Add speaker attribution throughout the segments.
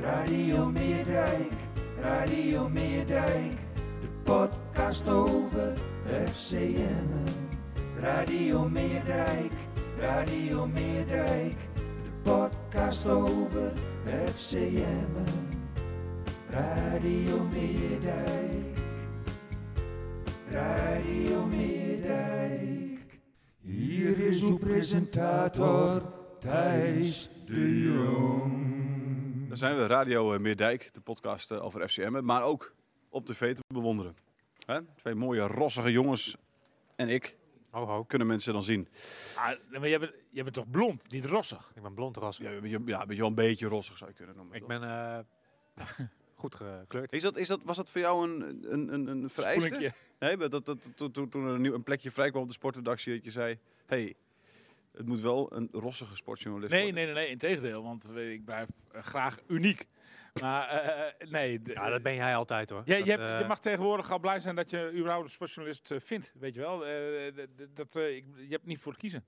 Speaker 1: Radio Meerdijk, Radio Meerdijk, de podcast over FCM. Radio Meerdijk, Radio Meerdijk, de podcast over FCM. Radio Meerdijk, Radio Meerdijk. Hier is uw presentator Thijs de Jong.
Speaker 2: Daar zijn we, Radio eh, Meerdijk, de podcast eh, over FCM, maar ook op tv te bewonderen. Hè? Twee mooie, rossige jongens en ik
Speaker 3: Ho, ho.
Speaker 2: kunnen mensen dan zien.
Speaker 3: Ah, nee, maar jij bent, jij bent toch blond, niet rossig?
Speaker 4: Ik ben blond ras.
Speaker 2: Ja, weet je- ja, weet je wel een beetje rossig zou je kunnen noemen.
Speaker 4: Ik ben eh, goed gekleurd.
Speaker 2: Is dat, is dat, was dat voor jou een, een, een, een vereiste?
Speaker 3: Spoelinkje.
Speaker 2: Nee, maar dat, dat, toen- toen- toen er een, nieuw, een plekje vrij kwam op de sportredactie, dat je zei... hey, het moet wel een rossige sportjournalist
Speaker 3: Nee,
Speaker 2: worden.
Speaker 3: nee, nee, nee, integendeel, want we- ik blijf eh, graag uniek. Maar eh, nee, de-
Speaker 4: Ja, dat ben jij altijd hoor.
Speaker 3: Jij-
Speaker 4: Dat,
Speaker 3: je, hebt- je
Speaker 4: eh,
Speaker 3: mag tegenwoordig al blij zijn dat je überhaupt een sportjournalist eh, vindt, weet je wel. Eh, d- d- dat, eh, ik, je hebt niet voor te kiezen.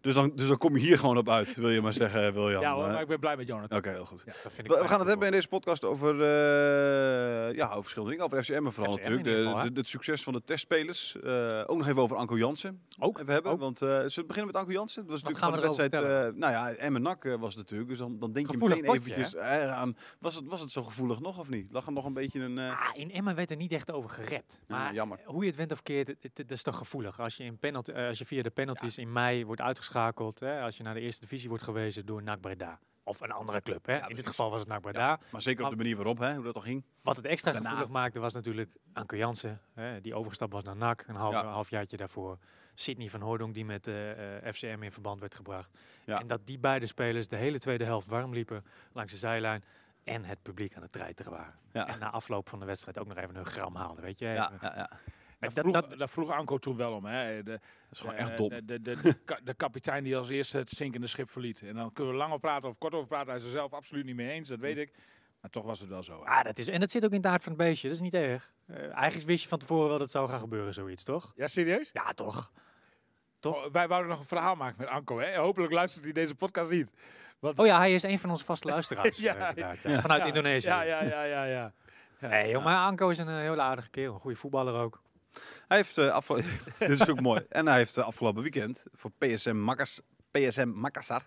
Speaker 2: Dus, dan, dus dan kom je hier gewoon op uit, wil je maar zeggen, eh, William.
Speaker 3: ja hoor,
Speaker 2: hè?
Speaker 3: maar
Speaker 2: Oké,
Speaker 3: ik ben blij met Jonathan.
Speaker 2: heel goed.
Speaker 4: dat vind ik
Speaker 2: We, we gaan het
Speaker 4: eigenlijk
Speaker 2: hebben in
Speaker 4: wel.
Speaker 2: deze podcast over, eh, ja, over verschillende dingen. Over FCM en vooral
Speaker 4: FCM in
Speaker 2: natuurlijk.
Speaker 4: ieder
Speaker 2: De-
Speaker 4: geval, hè?
Speaker 2: de- het succes van de testspelers. Eh, ook nog even over Anko Jansen.
Speaker 3: Ook,
Speaker 2: We hebben,
Speaker 3: ook.
Speaker 2: want eh zullen we beginnen met Anko Jansen? Dat was
Speaker 4: Wat
Speaker 2: natuurlijk
Speaker 4: gaan we
Speaker 2: gewoon de
Speaker 4: erover
Speaker 2: wedstrijd. eh nou ja, Emmen NAC eh, was het natuurlijk. Dus dan, dan denk
Speaker 4: Gevoelig
Speaker 2: je meteen
Speaker 4: potje,
Speaker 2: eventjes eh, aan. Was het, was het zo gevoelig nog of niet? Lag er nog een beetje een. eh,
Speaker 4: Ah, in Emmen werd er niet echt over gerept. Maar
Speaker 2: jammer.
Speaker 4: hoe je het went of keert, het, het- het is toch gevoelig. Als je, in penalty, eh, als je via de penalties in mei wordt uitgeschakeld, hè, als je naar de eerste divisie wordt gewezen door NAC Breda. Of een andere club. Hè. in dit
Speaker 2: precies.
Speaker 4: geval was het NAC Breda.
Speaker 2: maar zeker op de manier waarop, hè, hoe dat al ging.
Speaker 4: Wat het extra
Speaker 2: Daarna-
Speaker 4: gevoelig maakte was natuurlijk Anke Jansen, hè, die overgestapt was naar NAC, een half,
Speaker 2: Ja.
Speaker 4: een halfjaartje daarvoor. Sidney van Hoordong, die met eh, eh, FCM in verband werd gebracht.
Speaker 2: Ja.
Speaker 4: En dat die beide spelers de hele tweede helft warm liepen langs de zijlijn en het publiek aan het treiteren waren.
Speaker 2: Ja.
Speaker 4: En na afloop van de wedstrijd ook nog even hun gram haalden, weet je.
Speaker 2: Ja,
Speaker 4: Even-
Speaker 2: ja, ja.
Speaker 3: Daar
Speaker 4: dat-
Speaker 3: vroeg,
Speaker 4: dat-
Speaker 3: daar vroeg Anko toen wel om. Hè. De,
Speaker 2: Dat is gewoon
Speaker 3: eh,
Speaker 2: echt dom.
Speaker 3: De, de, de, de ka- de kapitein die als eerste het zinkende schip verliet. En dan kunnen we lang over praten of kort over praten. Hij is er zelf absoluut niet mee eens, dat weet ik. Maar toch was het wel zo.
Speaker 4: Ah, dat is, en dat zit ook in de aard van het beestje, dat is niet erg. Eh, eigenlijk wist je van tevoren wel dat het zou gaan gebeuren, zoiets, toch?
Speaker 3: Ja, serieus?
Speaker 4: Ja, toch?
Speaker 3: Oh, wij wouden nog een verhaal maken met Anko. Hè? Hopelijk luistert hij deze podcast niet.
Speaker 4: Oh ja, hij is een van onze vaste luisteraars.
Speaker 3: Ja,
Speaker 4: eh, inderdaad, ja.
Speaker 2: ja.
Speaker 4: Vanuit
Speaker 3: Ja,
Speaker 4: Indonesië.
Speaker 3: Ja, ja, ja, ja. ja. Ja,
Speaker 4: Nee, joh,
Speaker 3: ja.
Speaker 4: maar Anko is een eh, hele aardige kerel. Een goede voetballer ook.
Speaker 2: Hij heeft eh, afgelo- Dit is ook mooi. En hij heeft eh, afgelopen weekend voor PSM Makas- PSM Makassar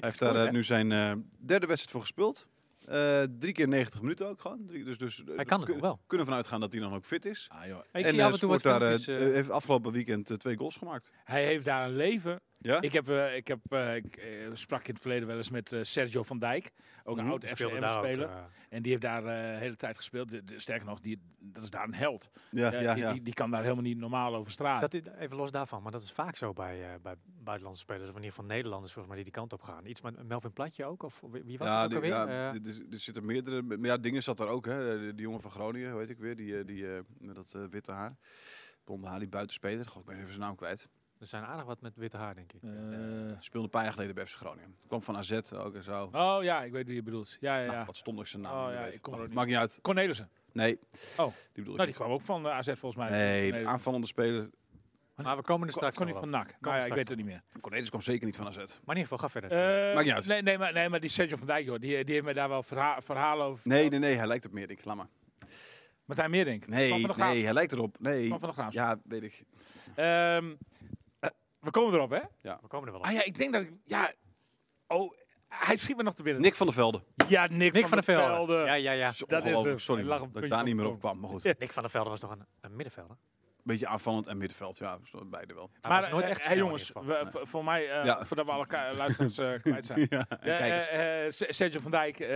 Speaker 2: Hij
Speaker 4: keer
Speaker 2: heeft daar eh,
Speaker 4: gescoord, hè?
Speaker 2: nu zijn eh, derde wedstrijd voor gespeeld. Eh, drie keer 90 minuten ook gewoon. Drie- dus, dus, eh,
Speaker 4: Hij kan het
Speaker 2: kun-
Speaker 4: nog wel.
Speaker 2: Kunnen vanuit gaan dat hij dan ook fit is.
Speaker 3: Ah, joh.
Speaker 4: Ik
Speaker 2: en
Speaker 4: zie
Speaker 2: eh,
Speaker 4: af en toe wat
Speaker 2: scoort daar, eh,
Speaker 4: filmpjes. eh,
Speaker 2: eh, heeft afgelopen weekend eh, twee goals gemaakt.
Speaker 3: Hij heeft daar een leven.
Speaker 2: Ja?
Speaker 3: Ik, heb, eh, ik, heb, eh, ik eh, sprak in het verleden wel eens met eh, Sergio van Dijk. Ook een
Speaker 2: Mhm.
Speaker 3: oud
Speaker 4: die speelde daar ook,
Speaker 3: FCM-speler.
Speaker 4: eh,
Speaker 3: En die heeft daar eh, de hele tijd gespeeld. De- de- sterker nog, die, dat is daar een held.
Speaker 2: ja,
Speaker 3: Eh,
Speaker 2: ja,
Speaker 3: die,
Speaker 2: ja.
Speaker 3: Die, die kan daar helemaal niet normaal over straat.
Speaker 4: dat is, even los daarvan, maar dat is vaak zo bij, eh, bij buitenlandse spelers. Of in ieder geval Nederlanders, volgens mij, die die kant op gaan. Iets met Melvin Platje ook? Of wie wie was
Speaker 2: Ja,
Speaker 4: dat
Speaker 2: die-
Speaker 4: ook alweer?
Speaker 2: ja,
Speaker 4: Eh,
Speaker 2: d- d- er zitten meerdere. maar Ja, dingen zat daar ook. Hè. Eh, Die, die jongen van Groningen, hoe heet ik weer? Die, eh, die eh, met dat eh, witte haar. Blonde haar, die buitenspeler. Goh, ik ben even zijn naam kwijt.
Speaker 4: er zijn aardig wat met witte haar, denk ik.
Speaker 3: Eh,
Speaker 2: Speelde een paar jaar geleden bij FC Groningen. Kwam van AZ ook en zo.
Speaker 3: oh ja, ik weet wie je bedoelt. Ja, ja,
Speaker 2: Nou,
Speaker 3: ja.
Speaker 2: wat stond ik zijn naam?
Speaker 3: Oh,
Speaker 2: niet
Speaker 3: ja,
Speaker 2: weet.
Speaker 3: ik kom
Speaker 2: Maar
Speaker 3: er
Speaker 2: goed,
Speaker 3: ook
Speaker 2: Maakt niet uit.
Speaker 3: Cornelissen.
Speaker 2: Nee.
Speaker 3: Oh.
Speaker 2: Die bedoel ik
Speaker 3: Nou,
Speaker 2: niet.
Speaker 3: die kwam ook van eh, AZ volgens mij.
Speaker 2: Nee,
Speaker 3: Kon-
Speaker 2: aanvallende speler.
Speaker 4: Maar we komen er
Speaker 3: kon,
Speaker 4: straks nog
Speaker 3: niet
Speaker 4: wel
Speaker 3: van
Speaker 4: op.
Speaker 3: NAC.
Speaker 4: Kom
Speaker 3: Nou ja, ik
Speaker 4: straks
Speaker 3: weet het niet meer.
Speaker 2: Cornelis kwam zeker niet van AZ.
Speaker 4: Maar in ieder geval, ga verder.
Speaker 3: Eh,
Speaker 2: Maakt niet uit.
Speaker 3: Nee, nee, maar, nee, maar die Sergio van Dijk, joh, die, die heeft mij daar wel verha- verhalen over.
Speaker 2: Nee, nee, nee, hij lijkt op meer. Ik laat maar.
Speaker 3: Martijn Meerdink. Van
Speaker 2: Nee,
Speaker 3: der Graaf.
Speaker 2: nee, hij lijkt erop. Nee.
Speaker 3: Van Van der Graaf.
Speaker 2: Ja, weet ik.
Speaker 3: Ehm, eh, we komen erop, hè?
Speaker 4: we komen er wel op.
Speaker 3: Ah ja, ik denk dat ik... Ja, oh, hij schiet me nog te binnen.
Speaker 2: Nick van der Velde.
Speaker 3: Ja, Nick,
Speaker 4: Nick van der
Speaker 3: der
Speaker 4: Velde. Ja, ja, ja.
Speaker 2: Dat is
Speaker 3: Dat is
Speaker 2: ongelooflijk.
Speaker 3: hem.
Speaker 2: Sorry
Speaker 3: Hij
Speaker 2: man,
Speaker 3: lag op het
Speaker 2: dat ik
Speaker 3: puntje
Speaker 2: daar niet meer
Speaker 3: van
Speaker 2: op kwam. Maar goed.
Speaker 4: Nick van der Velde was toch een, een middenvelder?
Speaker 2: beetje aanvallend en middenveld. Ja, zo beide wel.
Speaker 4: Hij
Speaker 3: maar
Speaker 4: was nooit
Speaker 3: eh,
Speaker 4: echt
Speaker 3: eh,
Speaker 4: snel in
Speaker 3: jongens,
Speaker 4: ieder
Speaker 3: we-
Speaker 4: geval. Nee.
Speaker 3: voor- voor mij, eh,
Speaker 2: Ja.
Speaker 3: voordat we alle ka- luisteraars eh, kwijt zijn.
Speaker 2: Ja, en
Speaker 3: Ja,
Speaker 2: kijkers.
Speaker 3: eh, eh, Se- Sergio van Dijk, eh,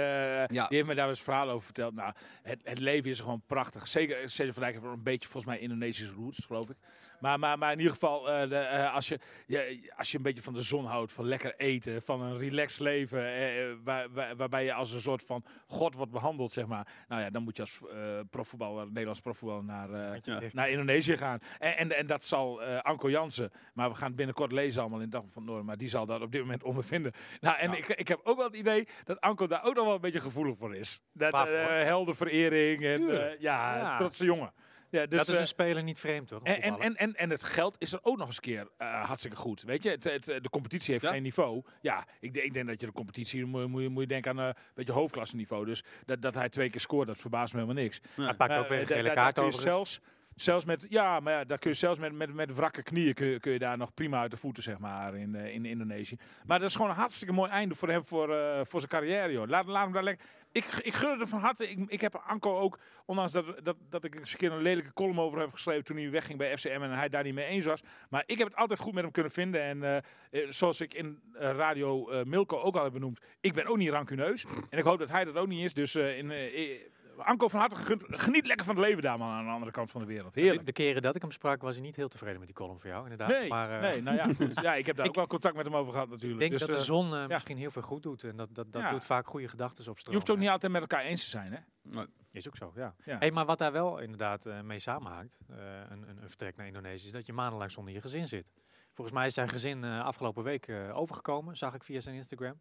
Speaker 3: die heeft me daar eens verhaal over verteld. Nou, het, het leven is gewoon prachtig. Zeker eh, Sergio van Dijk heeft wel een beetje volgens mij Indonesische roots, geloof ik. Maar, maar, maar in ieder geval, eh, de, eh, als, je, je- als je een beetje van de zon houdt, van lekker eten, van een relaxed leven, eh, eh, waar, waar- waarbij je als een soort van god wordt behandeld, zeg maar. Nou ja, dan moet je als eh, profvoetballer, Nederlands profvoetballer, naar, eh,
Speaker 4: Handje
Speaker 2: Ja.
Speaker 4: dicht.
Speaker 3: naar Indonesië gaan. En, en, en dat zal eh, Anko Jansen. Maar we gaan het binnenkort lezen allemaal in Dag van het Noorden. Maar die zal dat op dit moment ondervinden. Nou, en Ik, ik heb ook wel het idee dat Anko daar ook nog wel een beetje gevoelig voor is. Dat
Speaker 4: Waarvoor?
Speaker 3: eh, heldenverering en
Speaker 4: Tuurlijk.
Speaker 3: eh, ja,
Speaker 4: Ja.
Speaker 3: trotse jongen. Ja, dus,
Speaker 4: dat is
Speaker 3: eh,
Speaker 4: een speler niet vreemd, hoor. een
Speaker 3: en, en,
Speaker 4: voetballer.
Speaker 3: en, en, en het geld is er ook nog eens keer eh, hartstikke goed. Weet je, het, het, eh, de competitie heeft
Speaker 2: Ja.
Speaker 3: geen niveau. Ja, ik, denk- ik denk dat je de competitie, moet, moet, je- moet je denken aan eh, een beetje hoofdklasseniveau. Dus dat, dat hij twee keer scoort, dat verbaast me helemaal niks.
Speaker 4: Hij pakt ook
Speaker 3: Eh,
Speaker 4: weer een
Speaker 3: da-
Speaker 4: gele
Speaker 3: da-
Speaker 4: kaart
Speaker 3: daar kun je
Speaker 4: over.
Speaker 3: Zelfs, zelfs met, ja, maar ja, daar kun je zelfs met, met, met wrakke knieën kun je, kun je daar nog prima uit de voeten, zeg maar, in, eh, in Indonesië. Maar dat is gewoon een hartstikke mooi einde voor hem, voor, eh, voor zijn carrière, joh. Laat, laat hem daar lekker... Ik, ik gun het van harte. Ik, ik heb Anko ook, ondanks dat, dat, dat ik eens een keer een lelijke column over heb geschreven toen hij wegging bij FCM en hij daar niet mee eens was. Maar ik heb het altijd goed met hem kunnen vinden. En eh, eh, zoals ik in eh, radio eh, Milko ook al heb benoemd, ik ben ook niet rancuneus. En ik hoop dat hij dat ook niet is. Dus eh, in, eh, eh, Anko van harte gegund. Geniet lekker van het leven daar, man, aan de andere kant van de wereld.
Speaker 4: De,
Speaker 3: Heerlijk.
Speaker 4: de keren dat ik hem sprak, was hij niet heel tevreden met die column voor jou, inderdaad.
Speaker 3: Nee,
Speaker 4: maar, eh,
Speaker 3: nee, nou ja, goed. ja, ik heb daar
Speaker 4: Ik-
Speaker 3: ook wel contact met hem over gehad
Speaker 4: Ik
Speaker 3: natuurlijk.
Speaker 4: denk
Speaker 3: Dus,
Speaker 4: dat de
Speaker 3: eh,
Speaker 4: zon eh,
Speaker 3: ja.
Speaker 4: misschien heel veel goed doet. En dat, dat, dat
Speaker 3: Ja.
Speaker 4: doet vaak goede gedachten op
Speaker 3: je hoeft het ook
Speaker 4: stromen.
Speaker 3: niet altijd met elkaar eens te zijn, hè? Nou,
Speaker 4: Is ook zo, ja.
Speaker 3: Ja.
Speaker 4: Hey, maar wat daar wel inderdaad eh, mee samenhaakt, eh, een, een, een vertrek naar Indonesië, is dat je maandenlang zonder je gezin zit. Volgens mij is zijn gezin eh, afgelopen week eh, overgekomen, zag ik via zijn Instagram.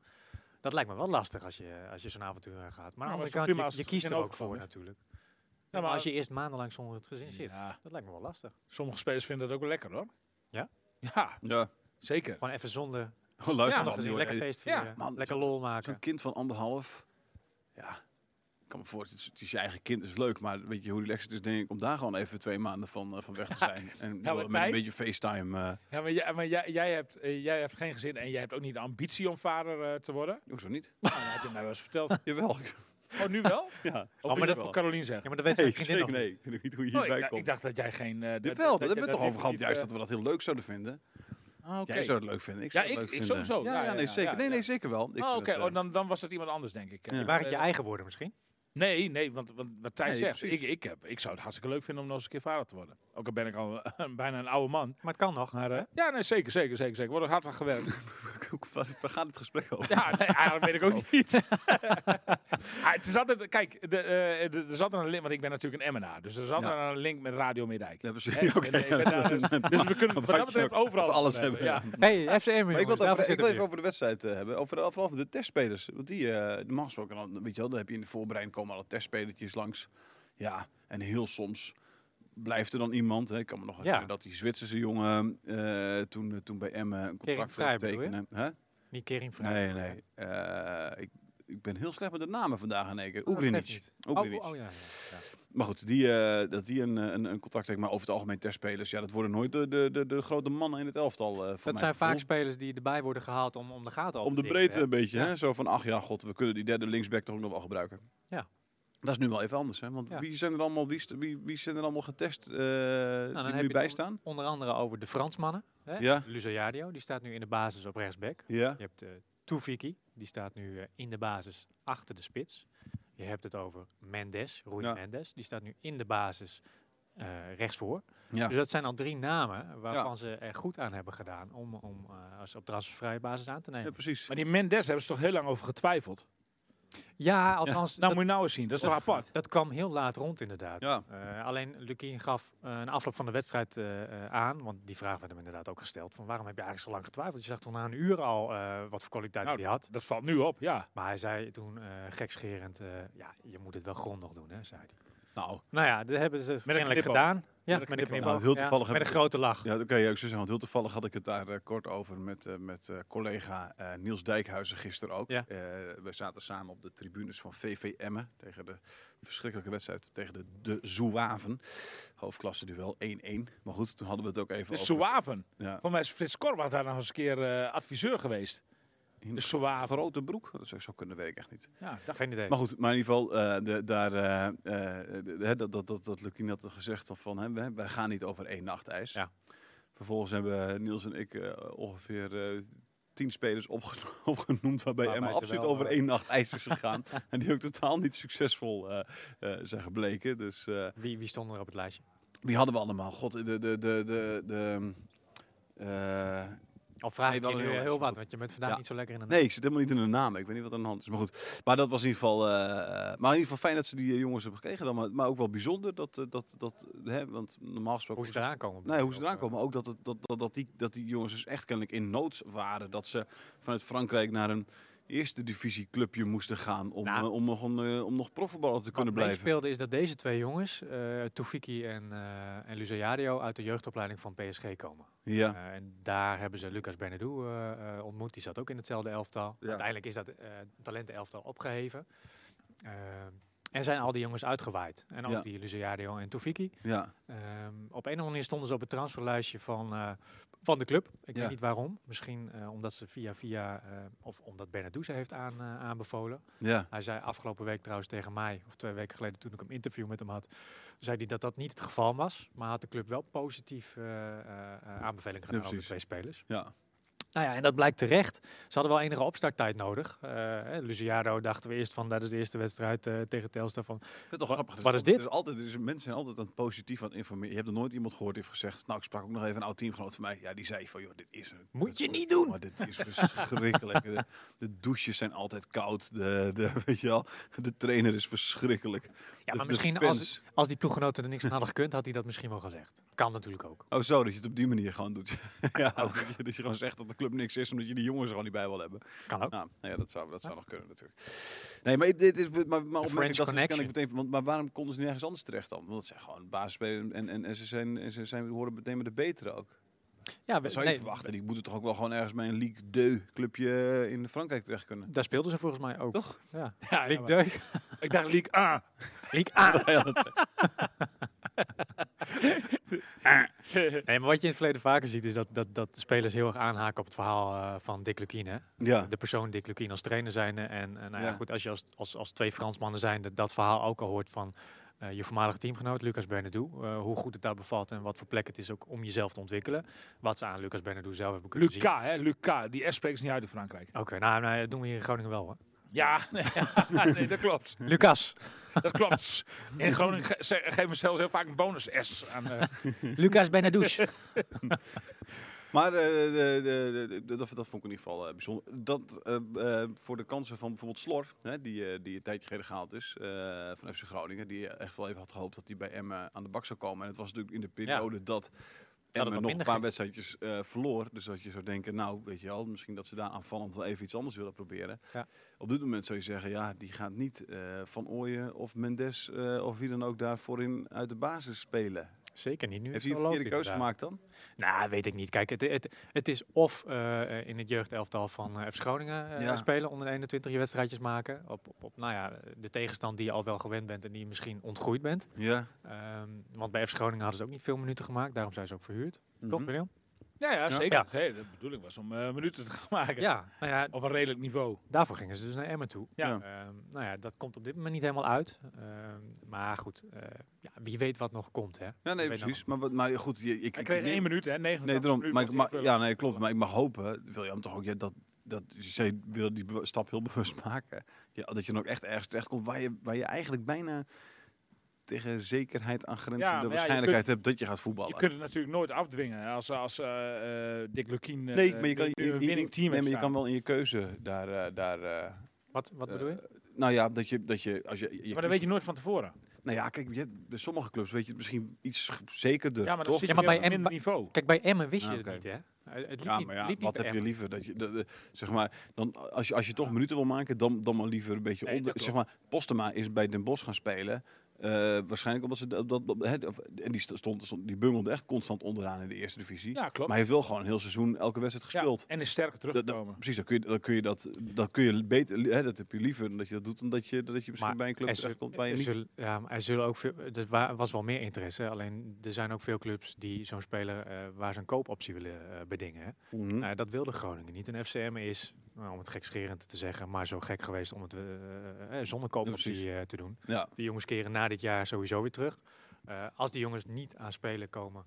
Speaker 4: Dat lijkt me wel lastig als je, als je zo'n avontuur aan gaat.
Speaker 3: maar
Speaker 4: Maar aan de
Speaker 3: het is
Speaker 4: andere kant,
Speaker 3: prima
Speaker 4: je,
Speaker 3: als
Speaker 4: je
Speaker 3: het
Speaker 4: kiest er
Speaker 3: gezin
Speaker 4: ook voor
Speaker 3: overkomen
Speaker 4: natuurlijk. Ja, maar,
Speaker 3: maar-
Speaker 4: als je eerst maandenlang zonder het gezin zit,
Speaker 3: Ja,
Speaker 4: dat lijkt me wel lastig.
Speaker 3: sommige spelers vinden dat ook wel lekker, hoor.
Speaker 4: Ja?
Speaker 3: Ja,
Speaker 2: Ja,
Speaker 3: zeker.
Speaker 4: Gewoon even zonder,
Speaker 2: oh, luister
Speaker 3: Ja,
Speaker 4: zonder
Speaker 2: dan.
Speaker 4: gezin,
Speaker 2: joh.
Speaker 4: lekker
Speaker 2: Hey,
Speaker 4: feest
Speaker 3: ja,
Speaker 4: vieren,
Speaker 2: man,
Speaker 4: lekker lol
Speaker 2: Zo'n
Speaker 4: maken.
Speaker 2: kind van anderhalf. Ja, ik kan me voorstellen, het is- het is je eigen kind, is leuk. Maar weet je hoe relaxed het is, denk ik, om daar gewoon even twee maanden van, eh, van weg te zijn. en
Speaker 3: maar
Speaker 2: joh, met een
Speaker 3: Thijs-
Speaker 2: beetje FaceTime. eh,
Speaker 3: Ja, maar, jij, maar jij, jij, hebt, eh, jij hebt geen gezin en jij hebt ook niet de ambitie om vader eh, te worden.
Speaker 2: hoezo niet?
Speaker 3: Nou, dat heb je mij wel eens verteld.
Speaker 2: Jawel.
Speaker 3: Oh, nu wel?
Speaker 2: Ja.
Speaker 3: Oh, maar
Speaker 4: dat-
Speaker 3: dat voor Carolien zeggen.
Speaker 4: Ja, maar dat weet
Speaker 2: Nee,
Speaker 4: zijn
Speaker 2: ik
Speaker 4: vriendin
Speaker 2: zeker
Speaker 4: nog
Speaker 2: nee.
Speaker 4: niet.
Speaker 2: Ik weet niet hoe je
Speaker 3: Oh, ik,
Speaker 2: hierbij
Speaker 3: dacht- ik
Speaker 2: komt.
Speaker 3: dacht dat jij geen... eh, dat-
Speaker 2: Dit wel,
Speaker 3: dat-
Speaker 2: daar
Speaker 3: dat
Speaker 2: hebben we
Speaker 3: je
Speaker 2: het toch over gehad.
Speaker 3: definitief,
Speaker 2: Juist
Speaker 3: eh,
Speaker 2: dat we dat heel leuk zouden vinden.
Speaker 3: ah, oké.
Speaker 2: Jij zou het leuk vinden. Ik
Speaker 3: Ja,
Speaker 2: zou het
Speaker 3: ik-
Speaker 2: leuk
Speaker 3: ik
Speaker 2: vinden.
Speaker 3: sowieso.
Speaker 2: Ja,
Speaker 3: Ja,
Speaker 2: ja,
Speaker 3: ja,
Speaker 2: nee,
Speaker 3: ja,
Speaker 2: zeker. nee,
Speaker 3: ja.
Speaker 2: nee, zeker wel. Ik
Speaker 3: Oh,
Speaker 2: vind
Speaker 3: oké.
Speaker 2: het, eh,
Speaker 3: Oh, dan, dan was het iemand anders, denk ik.
Speaker 2: Ja.
Speaker 3: Eh,
Speaker 4: Waren het je
Speaker 3: eh,
Speaker 4: eigen woorden misschien?
Speaker 3: Nee, nee, want, want wat Thijs
Speaker 2: Nee,
Speaker 3: zegt, ik,
Speaker 2: precies.
Speaker 3: ik, heb, ik zou het hartstikke leuk vinden om nog eens een keer vader te worden. Ook al ben ik al een- bijna een oude man.
Speaker 4: Maar het kan nog.
Speaker 3: Maar eh, ja, nee, zeker, zeker, zeker, zeker. Wordt er hard aan gewerkt.
Speaker 2: Waar waar gaat het gesprek over?
Speaker 3: ja, nee, eigenlijk weet ik
Speaker 2: Oh.
Speaker 3: ook niet. ah, het is altijd, kijk, de, eh, de, er zat er een link, want ik ben natuurlijk een MNA, dus er zat
Speaker 2: Ja.
Speaker 3: er een link met Radio Meerdijk.
Speaker 2: Ja,
Speaker 3: Hè,
Speaker 2: precies.
Speaker 3: ik
Speaker 2: Oké.
Speaker 3: ben- ik ben daar dus- Dus we kunnen wat dat betreft overal
Speaker 2: Over alles
Speaker 3: van
Speaker 2: hebben.
Speaker 3: Ja.
Speaker 4: Hey, FCM
Speaker 2: Maar ik wil,
Speaker 4: jongens,
Speaker 2: het over-
Speaker 4: daarvoor
Speaker 2: ik wil
Speaker 4: zitten we
Speaker 2: even
Speaker 4: hier.
Speaker 2: over de wedstrijd eh, hebben. Over, de- vooral over de testspelers. Want die, eh normaal gesproken, dan, weet je wel, dan heb je in de voorbereiding komen alle testspelertjes langs. Ja, en heel soms blijft er dan iemand. Hè. Ik kan me nog herinneren dat die Zwitserse jongen eh, toen, toen bij Emmen een contract wilde
Speaker 4: Vrij bedoel je?
Speaker 2: tekenen. Hè?
Speaker 4: Niet Kering
Speaker 2: Nee,
Speaker 4: Vrij.
Speaker 2: nee. Eh, ik, ik ben heel slecht met de namen vandaag in één keer.
Speaker 4: Oh, dat geeft
Speaker 2: Oegrinic.
Speaker 4: niet.
Speaker 2: Oegrinic.
Speaker 4: Oh, oh, ja, ja.
Speaker 2: Maar goed, die, eh, dat die een, eh, een, een contract heeft. Maar over het algemeen testspelers, ja, dat worden nooit de, de, de, de grote mannen in het elftal. eh voor mijn
Speaker 4: Dat zijn
Speaker 2: gevoel.
Speaker 4: vaak spelers die erbij worden gehaald om, om de gaten
Speaker 2: Om
Speaker 4: open
Speaker 2: de
Speaker 4: te dichten,
Speaker 2: breedte
Speaker 4: hè.
Speaker 2: een beetje.
Speaker 4: Ja.
Speaker 2: Hè? Zo van, ach ja, god, we kunnen die derde linksback toch ook nog wel gebruiken.
Speaker 4: Ja.
Speaker 2: Dat is nu wel even anders, hè? Want
Speaker 4: Ja.
Speaker 2: wie, zijn er allemaal, wie, is- wie, wie zijn er allemaal getest eh
Speaker 4: Nou,
Speaker 2: die
Speaker 4: dan heb
Speaker 2: er
Speaker 4: je
Speaker 2: nu
Speaker 4: het
Speaker 2: bij
Speaker 4: om-
Speaker 2: staan?
Speaker 4: Onder andere over de Fransmannen. Hè?
Speaker 2: Ja.
Speaker 4: Luzo Jardio, die staat nu in de basis op rechtsback.
Speaker 2: Ja.
Speaker 4: Je hebt eh Toefiki, die staat nu eh, in de basis achter de spits. Je hebt het over Mendes, Rui
Speaker 2: Ja.
Speaker 4: Mendes. Die staat nu in de basis eh rechtsvoor.
Speaker 2: Ja.
Speaker 4: Dus dat zijn al drie namen waarvan
Speaker 2: Ja.
Speaker 4: ze er goed aan hebben gedaan om, om eh, als op transfervrije basis aan te
Speaker 2: ja,
Speaker 4: nemen.
Speaker 2: precies.
Speaker 3: Maar die Mendes hebben ze toch heel lang over getwijfeld.
Speaker 4: Ja, althans,
Speaker 3: Nou, moet je nou eens zien, dat is toch
Speaker 2: Oh.
Speaker 3: apart?
Speaker 4: Dat kwam heel laat rond, inderdaad.
Speaker 2: Ja.
Speaker 4: Eh, alleen Lukien gaf eh, een afloop van de wedstrijd eh, eh, aan, want die vraag werd hem inderdaad ook gesteld: van waarom heb je eigenlijk zo lang getwijfeld? Je zag toen na een uur al eh, wat voor kwaliteit
Speaker 3: Nou,
Speaker 4: hij had.
Speaker 3: Dat valt nu op, ja.
Speaker 4: Maar hij zei toen eh, gekscherend: eh, ja, je moet het wel grondig doen, hè, zei hij.
Speaker 2: Nou,
Speaker 4: Nou ja, dat hebben ze het
Speaker 3: een
Speaker 4: kennelijk
Speaker 3: knipoog.
Speaker 4: gedaan. Ja,
Speaker 3: Met een
Speaker 4: met een
Speaker 3: knipoog.
Speaker 4: knipoog,
Speaker 2: Nou, heel
Speaker 4: ja,
Speaker 2: toevallig
Speaker 4: met
Speaker 2: heb
Speaker 4: een
Speaker 2: ik-
Speaker 4: grote lach.
Speaker 2: ja, dat kan je ook zo zeggen. Want heel toevallig had ik het daar eh, kort over met, eh, met eh, collega eh, Niels Dijkhuizen gisteren ook.
Speaker 4: Ja.
Speaker 2: Eh, we zaten samen op de tribunes van VV Emmen tegen de verschrikkelijke wedstrijd tegen de, de Zouaven. Hoofdklasse duel 1-1. Maar goed, toen hadden we het ook even
Speaker 3: De
Speaker 2: over...
Speaker 3: Suaven.
Speaker 2: Ja.
Speaker 3: Voor mij is Frits Korbach daar nog eens een keer eh, adviseur geweest.
Speaker 2: In
Speaker 3: De Zwaaf.
Speaker 2: Dus grote broek. Dat zou, zou kunnen, weet ik echt niet.
Speaker 3: Ja, dat
Speaker 4: Geen idee.
Speaker 2: Maar goed, maar in ieder geval, eh, de, daar, eh, eh, de- hè, dat, dat, dat, dat Lukien had gezegd van, hè, wij, wij gaan niet over één nacht ijs.
Speaker 4: Ja.
Speaker 2: Vervolgens hebben Niels en ik eh, ongeveer eh, tien spelers opgeno- opgenoemd waarbij
Speaker 4: Waarbij
Speaker 2: Emma
Speaker 4: ze
Speaker 2: absoluut
Speaker 4: wel,
Speaker 2: over
Speaker 4: eh,
Speaker 2: één nacht ijs is gegaan. en die ook totaal niet succesvol eh, eh, zijn gebleken. Dus eh,
Speaker 4: Wie, wie stond er op het lijstje?
Speaker 2: wie hadden we allemaal? God, de... de, de, de, de eh,
Speaker 4: Al vraag
Speaker 2: Nee,
Speaker 4: ik je
Speaker 2: wel
Speaker 4: nu
Speaker 2: heel
Speaker 4: heel,
Speaker 2: erg
Speaker 4: heel
Speaker 2: goed.
Speaker 4: wat, want je bent vandaag
Speaker 2: Ja.
Speaker 4: niet zo lekker in de
Speaker 2: Nee, ik zit helemaal niet in de naam. Ik weet niet wat aan de hand is. Maar goed, maar dat was in ieder geval. eh, maar in ieder geval fijn dat ze die eh, jongens hebben gekregen. Dan, maar, maar ook wel bijzonder dat. eh, dat, dat hè, want normaal gesproken.
Speaker 4: Hoe ze eraan komen.
Speaker 2: Nee, hoe ze eraan
Speaker 4: Ook,
Speaker 2: komen. Maar ook dat, het- dat, dat, dat, die, dat die jongens dus echt kennelijk in nood waren. Dat ze vanuit Frankrijk naar een eerste divisie clubje moesten gaan. Om,
Speaker 4: Nou.
Speaker 2: eh, om, nog, een, eh, om nog profvoetballer te kunnen
Speaker 4: Wat
Speaker 2: blijven.
Speaker 4: meespeelde is dat deze twee jongens, eh Toefiki en, eh en Luzario, uit de jeugdopleiding van PSG komen.
Speaker 2: Ja.
Speaker 4: Eh, en daar hebben ze Lucas Benedou eh, eh, ontmoet. Die zat ook in hetzelfde elftal.
Speaker 2: Ja.
Speaker 4: Uiteindelijk is dat eh talentenelftal opgeheven. Eh, en zijn al die jongens uitgewaaid. En ook
Speaker 2: Ja.
Speaker 4: die Luzario en Toefiki.
Speaker 2: ja.
Speaker 4: Ehm, op een of andere manier stonden ze op het transferlijstje van, eh, van de club. Ik
Speaker 2: Ja.
Speaker 4: weet niet waarom. Misschien eh, omdat ze via via, eh, of omdat Bernardo ze heeft aan, eh, aanbevolen.
Speaker 2: Ja.
Speaker 4: Hij zei afgelopen week trouwens tegen mij, of twee weken geleden toen ik een interview met hem had, zei hij dat dat niet het geval was. Maar had de club wel positief eh, eh, eh, aanbeveling gedaan over de
Speaker 2: precies.
Speaker 4: twee spelers.
Speaker 2: Ja.
Speaker 4: Nou ja, en dat blijkt terecht. Ze hadden wel enige opstarttijd nodig. Eh hè, Luciano dachten we eerst van, dat is de eerste wedstrijd eh, tegen Telstar van,
Speaker 2: Ik vind het toch grappig.
Speaker 4: wat
Speaker 2: Er
Speaker 4: is dit?
Speaker 2: Er is altijd, er is, mensen zijn altijd aan het positief aan het informeren. Je hebt er nooit iemand gehoord die heeft gezegd... Nou, ik sprak ook nog even een oud teamgenoot van mij. Ja, die zei van, joh, dit is... Een,
Speaker 4: Moet
Speaker 2: dit-
Speaker 4: je niet doen!
Speaker 2: Maar dit is verschrikkelijk. De, de douches zijn altijd koud. De, de, weet je wel, de trainer is verschrikkelijk.
Speaker 4: Ja,
Speaker 2: De-
Speaker 4: maar
Speaker 2: de
Speaker 4: misschien
Speaker 2: fans.
Speaker 4: als, als die ploeggenoten er niks van hadden gekund, had hij dat misschien wel gezegd. Kan natuurlijk ook.
Speaker 2: Oh, zo, dat je het op die manier gewoon doet. ja, dat je, dat je gewoon zegt dat de club niks is... omdat je die jongens er gewoon niet bij wil hebben.
Speaker 4: Kan ook.
Speaker 2: Nou, nou ja, dat zou, dat zou nog kunnen natuurlijk. Nee, maar dit is... Maar, maar opmerkelijk
Speaker 4: Ah. French
Speaker 2: dat ze dus
Speaker 4: connection.
Speaker 2: kennelijk meteen... Want, maar waarom konden ze nergens anders terecht dan? Want ze zijn gewoon basisspelers en, en, en ze, zijn, en ze zijn, horen meteen met de betere ook.
Speaker 4: Ja,
Speaker 2: Dat
Speaker 4: we,
Speaker 2: zou je
Speaker 4: nee,
Speaker 2: verwachten. Die moeten toch ook wel gewoon ergens bij een League 2 clubje eh, in Frankrijk terecht kunnen.
Speaker 4: daar speelden ze volgens mij ook.
Speaker 2: Toch?
Speaker 4: Ja.
Speaker 3: Ja, ja,
Speaker 4: Liek
Speaker 3: maar-
Speaker 4: Deuk.
Speaker 3: Ik dacht ah, Liek A.
Speaker 4: Liek A. Ah. Nee, maar wat je in het verleden vaker ziet, is dat, dat, dat de spelers heel erg aanhaken op het verhaal eh, van Dick Lukien. Hè?
Speaker 2: Ja.
Speaker 4: De persoon Dick Lukien als trainer zijn. En, en nou ja,
Speaker 2: Ja.
Speaker 4: goed, als je als, als, als twee Fransmannen zijn, dat, dat verhaal ook al hoort van eh, je voormalige teamgenoot, Lucas Bernadou. eh, hoe goed het daar bevalt en wat voor plek het is ook om jezelf te ontwikkelen. Wat ze aan Lucas Bernadou zelf hebben kunnen zien.
Speaker 3: Luca, hè? Luca. Die S spreekt ze niet uit in Frankrijk.
Speaker 4: Oké, nou, nou, dat doen we hier in Groningen wel hoor.
Speaker 3: Ja, nee, nee, dat klopt.
Speaker 4: Lucas,
Speaker 3: Dat klopt. In Groningen ge- ze- geven we zelfs heel vaak een bonus S aan. eh,
Speaker 4: Lucas Bernadouche.
Speaker 2: Maar eh, de, de, de, de- dat, dat vond ik in ieder geval eh, bijzonder. Dat eh, eh, voor de kansen van bijvoorbeeld Slor, hè, die, eh, die een tijdje geleden gehaald is eh, van FC Groningen. Die echt wel even had gehoopt dat hij bij Emmen aan de bak zou komen. En het was natuurlijk in de periode dat
Speaker 4: wat
Speaker 2: Emmen nog een
Speaker 4: minder
Speaker 2: paar
Speaker 4: ging.
Speaker 2: wedstrijdjes eh, verloor. Dus dat je zou denken, nou weet je wel, misschien dat ze daar aanvallend wel even iets anders willen proberen.
Speaker 4: Ja.
Speaker 2: Op dit moment zou je zeggen, ja, die gaat niet eh, Van Ooyen of Mendes eh, of wie dan ook daar voorin uit de basis spelen.
Speaker 4: Zeker niet nu.
Speaker 2: Heeft
Speaker 4: het
Speaker 2: hij een
Speaker 4: zo
Speaker 2: verkeerde
Speaker 4: loopt,
Speaker 2: keuze
Speaker 4: inderdaad.
Speaker 2: gemaakt dan?
Speaker 4: Nou, weet ik niet. Kijk, het, het, het is of eh, eh, in het jeugdelftal van eh FC Groningen eh,
Speaker 2: Ja.
Speaker 4: spelen, onder de 21 je wedstrijdjes maken. Op, op, op nou ja, de tegenstand die je al wel gewend bent en die je misschien ontgroeid bent.
Speaker 2: Ja.
Speaker 4: Ehm, want bij FC Groningen hadden ze ook niet veel minuten gemaakt, daarom zijn ze ook verhuurd. Toch,
Speaker 2: Mhm.
Speaker 4: Benil?
Speaker 3: ja, ja, zeker.
Speaker 4: Ja.
Speaker 3: Hey, de bedoeling was om eh, minuten te gaan maken.
Speaker 4: Ja, nou ja,
Speaker 3: Op een redelijk niveau.
Speaker 4: daarvoor gingen ze dus naar Emmen toe.
Speaker 3: Ja.
Speaker 2: Ja.
Speaker 4: Ehm, nou ja, dat komt op dit moment niet helemaal uit. Ehm, maar goed, eh, ja, wie weet wat nog komt, hè?
Speaker 2: Ja, nee,
Speaker 4: Weet nog-
Speaker 2: precies. Maar, wat- maar goed, je, ik,
Speaker 3: Hij
Speaker 2: ik
Speaker 3: kreeg
Speaker 2: neem-
Speaker 3: één minuut, hè? 90
Speaker 2: Nee, daarom,
Speaker 3: minuten
Speaker 2: maar, ik-
Speaker 3: mocht hij
Speaker 2: maar-
Speaker 3: invullen.
Speaker 2: ja, nee, klopt. Maar ik mag hopen, William, toch ook, ja, dat, dat jij wil die be- stap heel bewust maken. Ja, dat je dan ook echt ergens terechtkomt waar je, waar je eigenlijk bijna tegen zekerheid aan
Speaker 3: Ja,
Speaker 2: grenzen
Speaker 3: maar ja,
Speaker 2: de
Speaker 3: je
Speaker 2: waarschijnlijkheid hebt dat je gaat voetballen.
Speaker 3: Je kunt het natuurlijk nooit afdwingen hè, als, als eh, eh, Dick Lukien eh,
Speaker 2: nee, maar je
Speaker 3: nu-
Speaker 2: kan,
Speaker 3: nu
Speaker 2: je-
Speaker 3: een
Speaker 2: je-
Speaker 3: winning
Speaker 2: nee,
Speaker 3: team heeft
Speaker 2: maar je
Speaker 3: staan.
Speaker 2: kan wel in je keuze daar... eh, daar eh,
Speaker 4: Wat, wat bedoel je?
Speaker 2: nou ja, dat je, dat je als je... je
Speaker 3: Maar dat weet je nooit van tevoren.
Speaker 2: Nou ja, kijk, je hebt, bij sommige clubs weet je het misschien iets zekerder,
Speaker 3: Ja, maar dan
Speaker 2: toch?
Speaker 3: zit
Speaker 4: Ja,
Speaker 3: je
Speaker 4: maar
Speaker 3: weer
Speaker 4: bij
Speaker 3: op een
Speaker 4: M-
Speaker 3: minder niveau.
Speaker 4: Kijk, bij Emmen wist
Speaker 2: Ah,
Speaker 4: je
Speaker 2: oké.
Speaker 4: het niet, hè? Eh, Het liep
Speaker 2: Ja,
Speaker 4: niet-
Speaker 2: maar ja,
Speaker 4: liep niet
Speaker 2: wat
Speaker 4: bij
Speaker 2: heb je
Speaker 4: Emmen.
Speaker 2: liever? Dat je, dat, eh, zeg maar, dan, als, je, als je toch minuten wil maken, dan, dan maar liever een beetje
Speaker 3: Nee,
Speaker 2: onder.
Speaker 3: dat
Speaker 2: Zeg maar, Postema is bij Den Bosch gaan spelen. eh, waarschijnlijk omdat ze dat, dat, dat- hè, of- en die st- stond, stond- die bungelde echt constant onderaan in de eerste divisie.
Speaker 3: Ja, klopt.
Speaker 2: maar hij heeft wel gewoon een heel seizoen elke wedstrijd
Speaker 3: Ja,
Speaker 2: gespeeld.
Speaker 3: en is sterker
Speaker 2: Dat- dat-
Speaker 3: teruggekomen.
Speaker 2: precies, dan kun je, dan kun je dat, dat kun je beter, hè, dat heb je liever dan dat je dat doet, omdat je, dat je misschien
Speaker 4: Maar
Speaker 2: bij een club
Speaker 4: er zul-
Speaker 2: terechtkomt waar je
Speaker 4: er
Speaker 2: niet.
Speaker 4: zullen- ja, maar er zullen ook veel, er wa- was wel meer interesse. Alleen er zijn ook veel clubs die zo'n speler eh, waar ze een koopoptie willen eh, bedingen. hè.
Speaker 2: Mhm.
Speaker 4: Nou, dat wilde Groningen niet. En FCM is nou, om het gekscherend te zeggen, maar zo gek geweest om het eh, eh, zonder koopoptie eh, te doen.
Speaker 2: Ja.
Speaker 4: Die jongens keren na dit jaar sowieso weer terug. Eh, als die jongens niet aan spelen komen,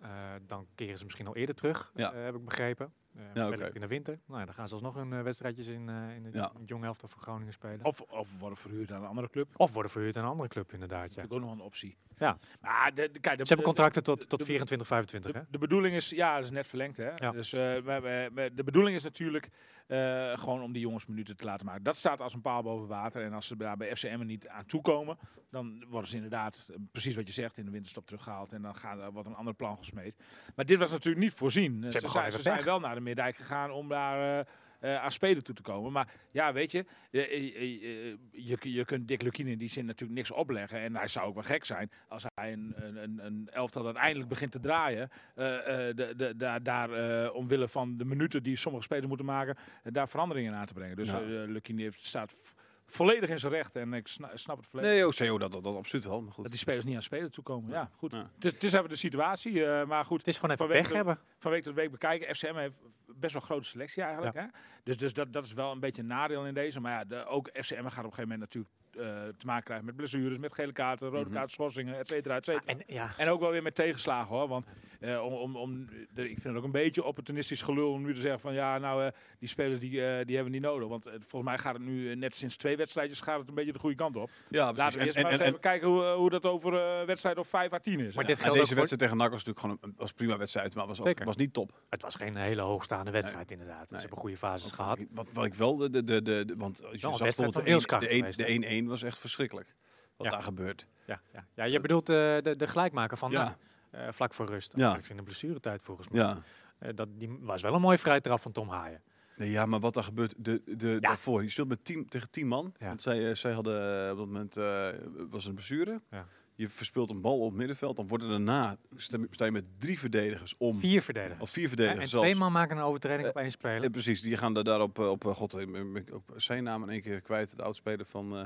Speaker 4: eh, dan keren ze misschien al eerder terug,
Speaker 2: Ja.
Speaker 4: eh, heb ik begrepen. Eh wellicht
Speaker 2: oké.
Speaker 4: in de winter. Nou, ja, dan gaan ze alsnog hun eh, wedstrijdjes in, eh, in, de,
Speaker 2: Ja.
Speaker 4: in het jonge helft van Groningen spelen. Of,
Speaker 3: Of, of worden verhuurd aan een andere club.
Speaker 4: worden verhuurd aan een andere club, inderdaad.
Speaker 3: Dat
Speaker 4: Ja. Ze
Speaker 3: is natuurlijk ook nog een optie.
Speaker 4: Ja.
Speaker 3: Maar de, de- kijk, de,
Speaker 4: hebben
Speaker 3: de-
Speaker 4: contracten tot, tot
Speaker 3: de-
Speaker 4: 24, 25, hè?
Speaker 3: De, de bedoeling is, ja, dat is net verlengd. Hè?
Speaker 4: Ja.
Speaker 3: Dus eh, we- we- we- de bedoeling is natuurlijk eh, gewoon om die jongens minuten te laten maken. Dat staat als een paal boven water. En als ze daar bij FCM niet aan toekomen, dan worden ze inderdaad, eh, precies wat je zegt, in de winterstop teruggehaald. En dan gaat, er wordt een ander plan gesmeed. Maar dit was natuurlijk niet voorzien. Eh, Ze,
Speaker 4: gewoon
Speaker 3: zijn,
Speaker 4: even
Speaker 3: ze zijn
Speaker 4: pech.
Speaker 3: wel naar de Meerdijk gegaan om daar. eh, eh, aan spelen toe te komen. Maar ja, weet je, eh, eh, eh, je, kun- je kunt Dick Lukien in die zin natuurlijk niks opleggen. En hij zou ook wel gek zijn als hij een, een, een, een elftal dat eindelijk begint te draaien. eh, eh, de, de, daar daar eh, omwille van de minuten die sommige spelers moeten maken, eh, daar veranderingen aan te brengen. Dus
Speaker 2: Ja.
Speaker 3: eh Lukien heeft staat v- volledig in zijn recht. En ik sna- snap het volledig.
Speaker 2: Nee, OCO, dat, dat, dat absoluut wel. Maar
Speaker 3: Dat
Speaker 2: goed.
Speaker 3: die spelers niet aan spelen toekomen. Ja, goed.
Speaker 2: Ja.
Speaker 3: Het is- het is even de situatie. eh, maar goed,
Speaker 4: Het is gewoon even
Speaker 3: Vanwege
Speaker 4: pech
Speaker 3: de-
Speaker 4: hebben.
Speaker 3: van week tot week bekijken. FCM heeft best wel een grote selectie eigenlijk. Hè? Dus, dus dat, dat is wel een beetje een nadeel in deze. Maar ja, de, ook FCM gaat op een gegeven moment natuurlijk eh, te maken krijgen met blessures, met gele kaarten, rode
Speaker 2: Mhm.
Speaker 3: kaarten, schorsingen, et cetera, et cetera.
Speaker 4: En ja,
Speaker 3: En ook wel weer met tegenslagen hoor. Want eh, om, om, om, de- ik vind het ook een beetje opportunistisch gelul om nu te zeggen van ja, nou eh, die spelers die, eh, die hebben we niet nodig. Want eh, volgens mij gaat het nu eh, net sinds twee wedstrijdjes gaat het een beetje de goede kant op.
Speaker 2: Ja,
Speaker 3: Laten we
Speaker 2: precies.
Speaker 3: eerst
Speaker 2: En-
Speaker 3: maar
Speaker 2: en-
Speaker 3: eens
Speaker 2: en-
Speaker 3: even kijken hoe, eh, hoe dat over eh, wedstrijd of 5 à 10 is.
Speaker 4: maar
Speaker 3: hè.
Speaker 4: dit
Speaker 2: en
Speaker 4: geldt ook
Speaker 2: deze
Speaker 4: voor...
Speaker 2: wedstrijd tegen NAC was natuurlijk gewoon een, was een prima wedstrijd, maar was, ook,
Speaker 4: Zeker.
Speaker 2: was niet top.
Speaker 4: Het was geen hele hoogstaande wedstrijd, inderdaad. Ze
Speaker 2: Nee.
Speaker 4: hebben goede fases gehad.
Speaker 2: Wat, wat ik wel, de, de, de, de, de- want als je
Speaker 4: Wel een
Speaker 2: zag
Speaker 4: wedstrijd van
Speaker 2: bijvoorbeeld
Speaker 4: wilskracht
Speaker 2: de een-
Speaker 4: geweest,
Speaker 2: de
Speaker 4: hè?
Speaker 2: 1-1 was echt verschrikkelijk. Wat
Speaker 4: Ja.
Speaker 2: daar gebeurt.
Speaker 4: Ja, ja. ja je bedoelt eh, de, de gelijkmaker van
Speaker 2: Ja.
Speaker 4: NAC, eh, vlak voor rust.
Speaker 2: Ja.
Speaker 4: Eigenlijk in de blessuretijd volgens mij.
Speaker 2: Ja.
Speaker 4: Eh, dat, die was wel een mooie vrije trap van Tom Haaien.
Speaker 2: Nee, ja, maar wat daar gebeurt de, de, daarvoor. Je speelt met tien, tegen tien man.
Speaker 4: Ja.
Speaker 2: Want zij, eh, zij hadden eh, op dat moment eh, was een blessure.
Speaker 4: Ja.
Speaker 2: Je verspeelt een bal op het middenveld. Dan worden daarna stem- sta je met drie verdedigers om.
Speaker 4: Vier verdedigers.
Speaker 2: Hm. Of vier
Speaker 4: Ja,
Speaker 2: verdedigers
Speaker 4: en
Speaker 2: zelfs.
Speaker 4: twee man maken een overtreding
Speaker 2: Eh,
Speaker 4: op één speler.
Speaker 2: Eh, precies, die gaan daar- daarop eh, op, eh, god, eh, ben ik ook zijn naam in één keer kwijt. De oudspeler van, eh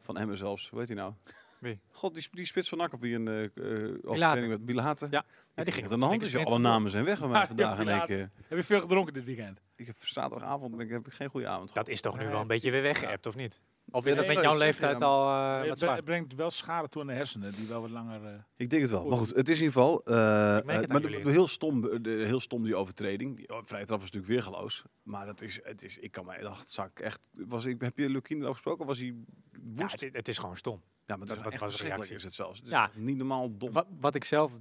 Speaker 2: van Emmen zelfs. Hoe heet hij nou?
Speaker 4: Wie?
Speaker 2: God, die, die spits van Nak op wie een eh, eh overtreding
Speaker 4: Bilater.
Speaker 2: met Bilater.
Speaker 4: Ja,
Speaker 2: Ja, die ging het aan
Speaker 4: op
Speaker 2: de hand. Dus
Speaker 4: flinke
Speaker 2: alle
Speaker 4: sprint
Speaker 2: namen zijn weg bij mij
Speaker 3: Ja,
Speaker 2: vandaag in één
Speaker 3: Bilater.
Speaker 2: keer.
Speaker 3: Heb je veel gedronken dit weekend?
Speaker 2: Ik heb zaterdagavond ik heb geen goede avond
Speaker 4: Dat
Speaker 2: gehad.
Speaker 4: is toch nu
Speaker 3: Nee.
Speaker 4: wel een beetje weer weggeëpt, of niet? Of
Speaker 2: Nee,
Speaker 4: is dat met
Speaker 2: sorry,
Speaker 4: jouw
Speaker 2: sorry,
Speaker 4: leeftijd
Speaker 2: ja,
Speaker 4: al eh, wat
Speaker 3: Het bre-
Speaker 4: zwaar?
Speaker 3: het brengt wel schade toe aan de hersenen, die wel wat langer... eh,
Speaker 2: Ik denk het wel. Maar goed, het is in ieder geval. eh,
Speaker 4: Ik merk het
Speaker 2: eh,
Speaker 4: aan
Speaker 2: maar de-
Speaker 4: jullie.
Speaker 2: de- heel, stom, eh, de, heel stom die overtreding. Die oh, vrije trap is natuurlijk weergeloos. Maar dat is, het is, ik kan mij dacht, zak echt. Was, ik, heb je Lukien erover gesproken? of Was hij
Speaker 4: Ja,
Speaker 2: woest? Ja,
Speaker 4: het, het is gewoon stom.
Speaker 2: maar dat
Speaker 4: wat
Speaker 2: is
Speaker 4: was de
Speaker 2: echt verschrikkelijk
Speaker 4: reactie?
Speaker 2: is het zelfs. Het is
Speaker 4: Ja.
Speaker 2: echt niet normaal dom.
Speaker 4: Wat, wat ik zelf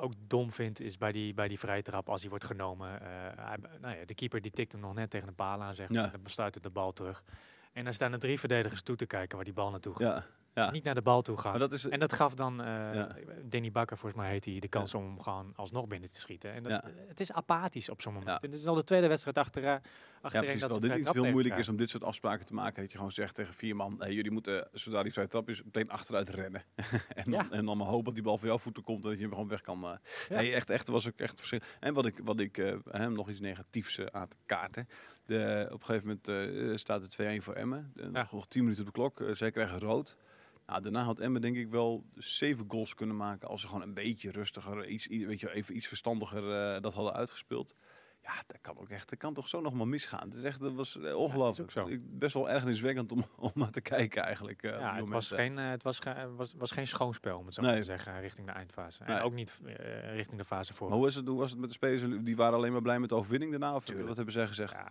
Speaker 4: ook dom vind, is bij die, bij die vrije trap, als die wordt genomen. eh, hij, nou ja, de keeper die tikt hem nog net tegen de paal aan, zeg maar.
Speaker 2: Ja.
Speaker 4: en Dan besluit het de bal terug. En dan staan er drie verdedigers toe te kijken waar die bal naartoe gaat.
Speaker 2: Ja, ja.
Speaker 4: Niet naar de bal toe gaan.
Speaker 2: Maar dat is.
Speaker 4: En dat gaf dan eh
Speaker 2: Ja.
Speaker 4: Danny Bakker, volgens mij heet hij, de kans om gewoon alsnog binnen te schieten. En dat,
Speaker 2: Ja.
Speaker 4: Het is apathisch op zo'n moment.
Speaker 2: Ja.
Speaker 4: En dit is al de tweede wedstrijd achteraan.
Speaker 2: Ja,
Speaker 4: achtereen
Speaker 2: precies.
Speaker 4: dat ze
Speaker 2: Terwijl dit
Speaker 4: vrij
Speaker 2: iets
Speaker 4: trap
Speaker 2: heel moeilijk
Speaker 4: tegenkrijgen.
Speaker 2: is om dit soort afspraken te maken. Dat je gewoon zegt tegen vier man, hey, jullie moeten, eh, zodra die vrije trap is, meteen achteruit rennen. en, dan,
Speaker 4: Ja.
Speaker 2: en dan maar hopen dat die bal voor jouw voeten komt en dat je hem gewoon weg kan. eh.
Speaker 4: Ja.
Speaker 2: Nee, echt, echt, was ook echt verschrikkelijk. En wat ik, wat ik eh, hem nog iets negatiefs eh, aan te kaarten. De, op een gegeven moment eh, staat het 2-1 voor Emmen. De-
Speaker 4: Ja.
Speaker 2: Nog tien minuten op de klok. Eh, zij krijgen rood. Nou, daarna had Emmen denk ik wel zeven goals kunnen maken als ze gewoon een beetje rustiger, iets, i- weet je, wel, even iets verstandiger eh, dat hadden uitgespeeld. Ja, dat kan ook echt. Dat kan toch zo nog maar misgaan. Het is echt, dat was eh, ongelooflijk.
Speaker 4: zo.
Speaker 2: Ik- Best wel ergerniswekkend om, om naar te kijken eigenlijk. eh, op
Speaker 4: Ja,
Speaker 2: die
Speaker 4: het was,
Speaker 2: momenten.
Speaker 4: geen, eh, het was, ge- was, was geen schoonspel, om het zo maar
Speaker 2: Nee.
Speaker 4: te zeggen, richting de eindfase.
Speaker 2: Nee.
Speaker 4: En ook niet eh, richting de fase voor.
Speaker 2: Maar hoe, is het, hoe was het met de spelers? Die waren alleen maar blij met de overwinning daarna? Of
Speaker 4: Tuurlijk.
Speaker 2: wat hebben zij gezegd?
Speaker 4: Ja,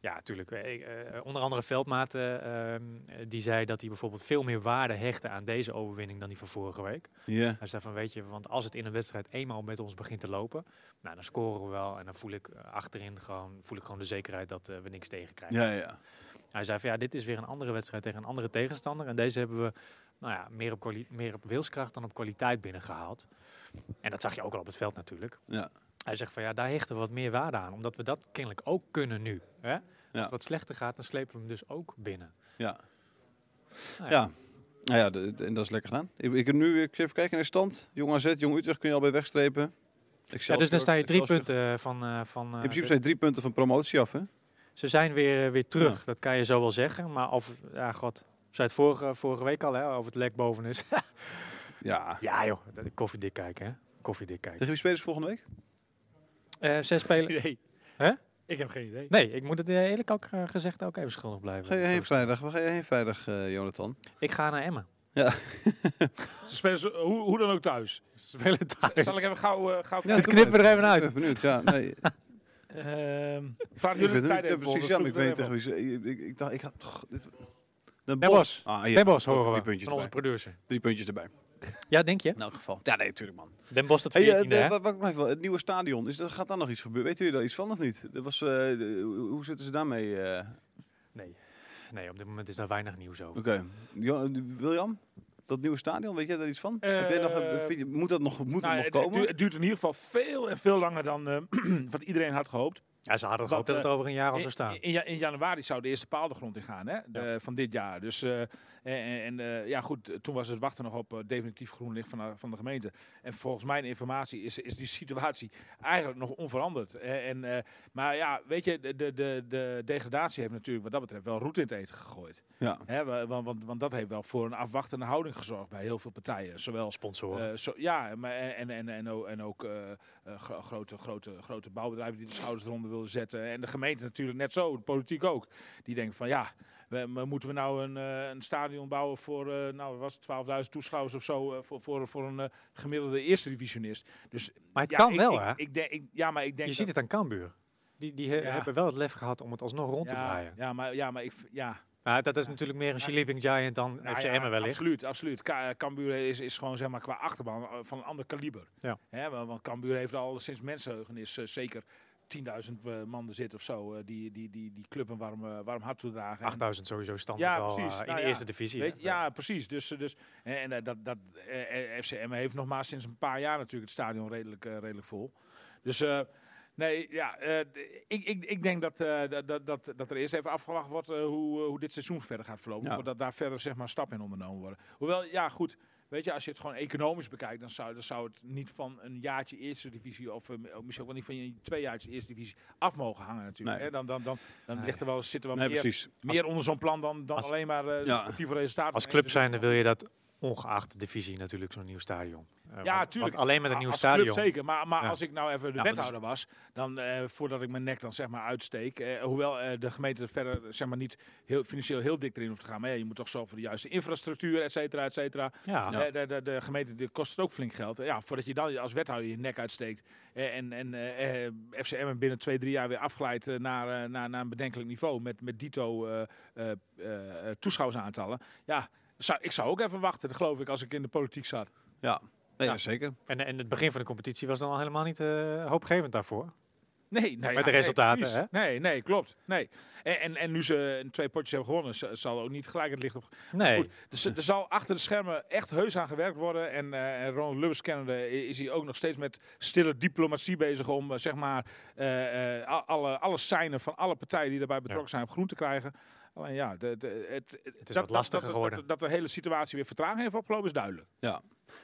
Speaker 4: ja tuurlijk. Eh, eh, onder andere Veldmaat, eh, ehm, eh, die zei dat hij bijvoorbeeld veel meer waarde hechtte aan deze overwinning dan die van vorige week.
Speaker 2: Ja.
Speaker 4: Hij zei van, weet je, want als het in een wedstrijd eenmaal met ons begint te lopen, nou, dan scoren we wel en dan voel ik eh, achterin gewoon, voel ik gewoon de zekerheid dat eh, we niks tegenkrijgen.
Speaker 2: Ja, ja.
Speaker 4: Hij zei van, ja, dit is weer een andere wedstrijd tegen een andere tegenstander en deze hebben we nou ja, meer, op kwali- meer op wilskracht dan op kwaliteit binnengehaald. En dat zag je ook al op het veld natuurlijk.
Speaker 2: ja.
Speaker 4: Hij zegt van ja, daar hechten we wat meer waarde aan. Omdat we dat kennelijk ook kunnen nu. Hè? Als
Speaker 2: Ja.
Speaker 4: het wat slechter gaat, dan slepen we hem dus ook binnen.
Speaker 2: Ja.
Speaker 4: Nou
Speaker 2: ja. Nou ja, de- de- en dat is lekker gedaan. Ik, ik heb nu ik ga even kijken naar de stand. Jong AZ, Jong Utrecht kun je al bij wegstrepen.
Speaker 4: Ja,
Speaker 2: Excelsior
Speaker 4: dus dan sta je
Speaker 2: ook.
Speaker 4: drie
Speaker 2: Excelsior.
Speaker 4: punten eh, van... eh, van eh,
Speaker 2: In principe
Speaker 4: de-
Speaker 2: zijn je drie punten van promotie af, hè?
Speaker 4: Ze zijn weer, eh, weer terug,
Speaker 2: Ja.
Speaker 4: dat kan je zo wel zeggen. Maar of, ja god, zei het vorige, vorige week al hè, of het lek boven is.
Speaker 2: Ja.
Speaker 4: ja joh, dat- koffiedik kijken hè. Koffiedik kijken.
Speaker 2: Tegen wie spelen ze volgende week?
Speaker 4: Eh, zes spelers.
Speaker 3: Nee.
Speaker 4: Hè?
Speaker 3: Ik heb geen idee.
Speaker 4: Nee, ik moet het eh, eerlijk ook eh, gezegd ook even schuldig blijven.
Speaker 2: Ga je heen vrijdag? Waar ga je heen vrijdag, eh, Jonathan?
Speaker 4: Ik ga naar Emmen.
Speaker 3: Ze spelen ze- hoe, hoe dan ook thuis.
Speaker 4: Ze spelen thuis.
Speaker 3: Zal ik even gauw, eh, gauw
Speaker 2: Ja,
Speaker 3: kijken?
Speaker 2: doe
Speaker 4: knippen we
Speaker 2: maar.
Speaker 4: er even uit.
Speaker 2: Ik ben benieuwd, ja. Nee,
Speaker 3: Ehm,
Speaker 2: ik weet
Speaker 3: praat jullie
Speaker 2: het
Speaker 3: de
Speaker 2: niet.
Speaker 3: tijd
Speaker 2: Ja,
Speaker 3: even op,
Speaker 2: precies,
Speaker 3: dat
Speaker 2: ja, maar
Speaker 3: zoek
Speaker 2: ik weet
Speaker 3: er
Speaker 2: tegen wie ze... Ik, ik, ik dacht, ik had... toch- dit- Den
Speaker 4: Bos.
Speaker 2: Ah, ja.
Speaker 4: Den Bosch
Speaker 2: Ook
Speaker 4: horen
Speaker 2: Drie
Speaker 4: we
Speaker 2: puntjes
Speaker 4: van onze
Speaker 2: erbij.
Speaker 4: producer.
Speaker 2: Drie puntjes erbij.
Speaker 4: Ja, denk je?
Speaker 2: In elk geval. Ja, nee, natuurlijk man.
Speaker 4: Den Bosch dat
Speaker 2: Hey, eh,
Speaker 4: 14e,
Speaker 2: de-
Speaker 4: hè?
Speaker 2: wa- wa- wacht even, het nieuwe stadion, is, er- gaat daar nog iets gebeuren? Weet jullie daar iets van of niet? Dat was, eh, de- hoe hoe zitten ze daarmee? eh?
Speaker 4: Nee. Nee, op dit moment is daar weinig nieuws over.
Speaker 2: Oké. Jo- eh, William, dat nieuwe stadion, weet jij daar iets van?
Speaker 3: Eh,
Speaker 2: Heb jij nog, eh, vind je- moet dat nog, moet
Speaker 3: Nou,
Speaker 2: het nog
Speaker 3: het,
Speaker 2: komen?
Speaker 3: duurt, het duurt in ieder geval veel en veel langer dan eh, wat iedereen had gehoopt.
Speaker 4: Ja, ze hadden
Speaker 3: Wat,
Speaker 4: gehoopt dat het
Speaker 3: eh,
Speaker 4: over een jaar al zou
Speaker 3: In-
Speaker 4: staan.
Speaker 3: In, ja- in januari zou de eerste paal de grond in gaan hè, de- van dit jaar. Dus, eh, en- en en, eh, ja, goed, toen was het wachten nog op eh, definitief groen licht van, de- van de gemeente. En volgens mijn informatie is, is die situatie eigenlijk nog onveranderd. Eh, en, eh, maar ja, weet je, de, de, de, de degradatie heeft natuurlijk wat dat betreft wel roet in het eten gegooid.
Speaker 2: Ja.
Speaker 3: Hè, wa- want, want, want dat heeft wel voor een afwachtende houding gezorgd bij heel veel partijen. Zowel
Speaker 4: Sponsoren.
Speaker 3: eh, zo, ja, maar en, en, en, en ook, en ook eh, eh, gro- grote, grote, grote bouwbedrijven die de schouders eronder wilden zetten. En de gemeente natuurlijk net zo, de politiek ook. Die denken van ja, we, maar moeten we nou een, eh, een stadion bouwen voor eh, nou, wat was het, 12.000 toeschouwers of zo eh, voor, voor, voor een eh, gemiddelde eerste divisionist. Dus,
Speaker 4: maar het
Speaker 3: ja,
Speaker 4: kan
Speaker 3: ik-
Speaker 4: wel,
Speaker 3: ik-
Speaker 4: hè?
Speaker 3: Ik, denk, ik- ja, maar ik denk
Speaker 4: Je
Speaker 3: dat-
Speaker 4: ziet het aan Cambuur. Die, die he-
Speaker 3: Ja.
Speaker 4: hebben wel het lef gehad om het alsnog rond te
Speaker 3: ja,
Speaker 4: draaien.
Speaker 3: ja, maar, ja, maar ik, v- ja,
Speaker 4: Maar dat is natuurlijk meer een Sleeping Giant dan
Speaker 3: Nou
Speaker 4: FC
Speaker 3: ja,
Speaker 4: Emmen wellicht.
Speaker 3: Absoluut, absoluut. Ka eh, Cambuur is, is gewoon zeg maar, qua achterban eh, van een ander kaliber.
Speaker 4: Ja.
Speaker 3: Hè, wa- want Cambuur heeft al sinds mensenheugenis eh, zeker 10.000 eh, man er zit of zo. eh, die, die, die, die club een warm, eh, warm hart toedragen. En-
Speaker 4: 8000 sowieso standaard
Speaker 3: Ja,
Speaker 4: wel
Speaker 3: precies.
Speaker 4: eh, in
Speaker 3: Nou
Speaker 4: de
Speaker 3: ja.
Speaker 4: eerste divisie.
Speaker 3: Weet,
Speaker 4: hè.
Speaker 3: ja, precies. Dus, eh, dus, en en, eh, dat, dat, eh, eh, FCM heeft nog maar sinds een paar jaar natuurlijk het stadion redelijk, eh, redelijk vol. Dus eh, nee, ja, eh, d- ik, ik, ik denk dat, eh, dat- dat, dat, dat er eerst even afgewacht wordt eh, hoe, eh, hoe dit seizoen verder gaat verlopen.
Speaker 2: Ja.
Speaker 3: Voordat daar verder zeg maar, stappen in ondernomen worden. Hoewel, ja goed, weet je, als je het gewoon economisch bekijkt, dan zou, dan zou het niet van een jaartje eerste divisie of eh, misschien ook wel niet van een twee jaartjes eerste divisie af mogen hangen natuurlijk.
Speaker 2: Nee.
Speaker 3: hè. Dan, dan, dan, dan
Speaker 4: Nee.
Speaker 3: ligt er wel, zitten wel
Speaker 2: nee,
Speaker 3: meer
Speaker 2: precies. Als-
Speaker 3: meer onder zo'n plan dan, dan
Speaker 4: als-
Speaker 3: alleen maar eh
Speaker 2: Ja.
Speaker 3: sportieve resultaten.
Speaker 4: Als club zijnde wil je dat ongeacht de divisie natuurlijk zo'n nieuw stadion. Eh, want- want
Speaker 3: tuurlijk.
Speaker 4: alleen met een nieuw
Speaker 3: als
Speaker 4: stadion.
Speaker 3: Club zeker, maar, maar
Speaker 4: Ja.
Speaker 3: als ik nou even de
Speaker 4: Ja, maar dat is-
Speaker 3: wethouder was, dan eh, voordat ik mijn nek dan zeg maar uitsteek, eh, hoewel eh, de gemeente er verder zeg maar niet heel, financieel heel dik erin hoeft te gaan, maar ja, je moet toch zo voor de juiste infrastructuur, et cetera, et cetera.
Speaker 4: Ja.
Speaker 3: Eh, de, de, de gemeente die kost het ook flink geld. Eh, Ja, voordat je dan als wethouder je nek uitsteekt eh, en, en eh, eh, FCM binnen twee, drie jaar weer afglijdt eh, naar, eh, naar, naar een bedenkelijk niveau met, met dito eh, eh, eh, eh, toeschouwersaantallen. Ja, zou, ik zou ook even wachten, dat geloof ik, als ik in de politiek zat.
Speaker 2: Ja. Nee,
Speaker 4: Ja.
Speaker 2: ja, zeker.
Speaker 4: En, en het begin van de competitie was dan al helemaal niet eh, hoopgevend daarvoor.
Speaker 3: Nee, nou ja,
Speaker 4: Met de
Speaker 3: nee,
Speaker 4: resultaten,
Speaker 3: precies.
Speaker 4: hè?
Speaker 3: Nee, nee, klopt. Nee. En, en, en nu ze twee potjes hebben gewonnen, z- zal ook niet gelijk het licht op
Speaker 4: Nee.
Speaker 3: Goed, dus er zal achter de schermen echt heus aan gewerkt worden. En, eh, en Ronald Lubbers kennende i- is hij ook nog steeds met stille diplomatie bezig om eh, zeg maar eh, eh, a- alle, alle seinen van alle partijen die daarbij betrokken zijn op groen te krijgen. Alleen ja, de, de, het, het
Speaker 4: wat lastiger geworden.
Speaker 3: Dat, dat de hele situatie weer vertraging heeft opgelopen is duidelijk.